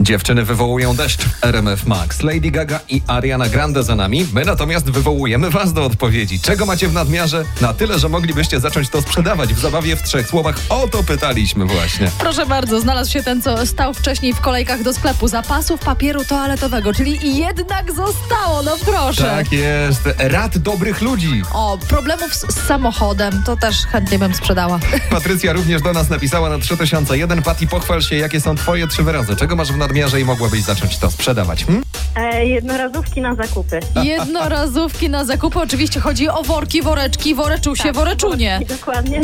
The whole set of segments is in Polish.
Dziewczyny wywołują deszcz. RMF Max, Lady Gaga i Ariana Grande za nami. My natomiast wywołujemy Was do odpowiedzi. Czego macie w nadmiarze? Na tyle, że moglibyście zacząć to sprzedawać w zabawie w trzech słowach. O to pytaliśmy właśnie. Proszę bardzo, znalazł się ten, co stał wcześniej w kolejkach do sklepu zapasów papieru toaletowego, czyli jednak zostało, no proszę. Tak jest. Rad dobrych ludzi. O, problemów z, z samochodem, to też chętnie bym sprzedała. Patrycja również do nas napisała na 3001. Pati, pochwal się, jakie są twoje trzy wyrazy. Czego masz w nadmiarze i mogłabyś zacząć to sprzedawać? Hm? E, jednorazówki na zakupy. Jednorazówki na zakupy, oczywiście chodzi o worki, woreczki, woreczusie, woreczunie. Dokładnie.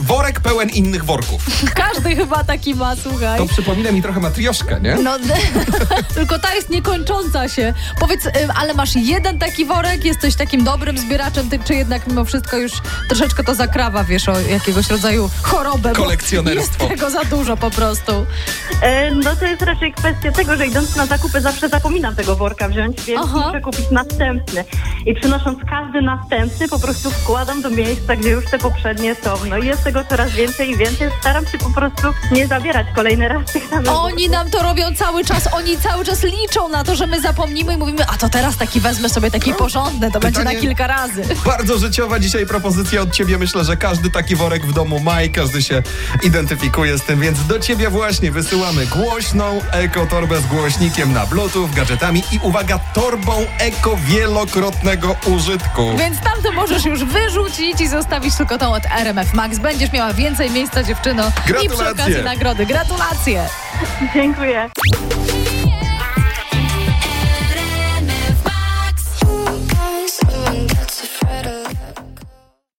Worek pełen innych worków. Każdy chyba taki ma, słuchaj. To przypomina mi trochę matrioszkę, nie? No, tylko ta jest niekończąca się. Powiedz, ym, ale masz jeden taki worek, jesteś takim dobrym zbieraczem, ty, czy jednak mimo wszystko już troszeczkę to zakrawa, wiesz, o jakiegoś rodzaju chorobę. bo Kolekcjonerstwo. Jest tego za dużo po prostu. E, no to jest raczej kwestia tego, że idąc na zakupy zawsze zapominam tego worka wziąć, więc Aha. muszę kupić następny. I przynosząc każdy następny, po prostu wkładam do miejsca, gdzie już te poprzednie są. No i jest tego coraz więcej i więcej. Staram się po prostu nie zabierać kolejny raz tych samych Oni nam to robią cały czas, oni cały czas liczą na to, że my zapomnimy i mówimy, a to teraz taki wezmę sobie taki porządny, to będzie na No, pytanie- kilka razy. Bardzo życiowa dzisiaj propozycja od ciebie. Myślę, że każdy taki worek w domu ma i każdy się identyfikuje z tym, więc do ciebie właśnie wysyłamy głośną ekotorbę z głośnikiem na bluetooth, gadżetami i uwaga, torbą eko wielokrotnego użytku. Więc tamto możesz już wyrzucić i zostawić tylko tą od RMF Max. Będziesz miała więcej miejsca, dziewczyno. I przy Gratulacje. okazji nagrody. Gratulacje! Dziękuję.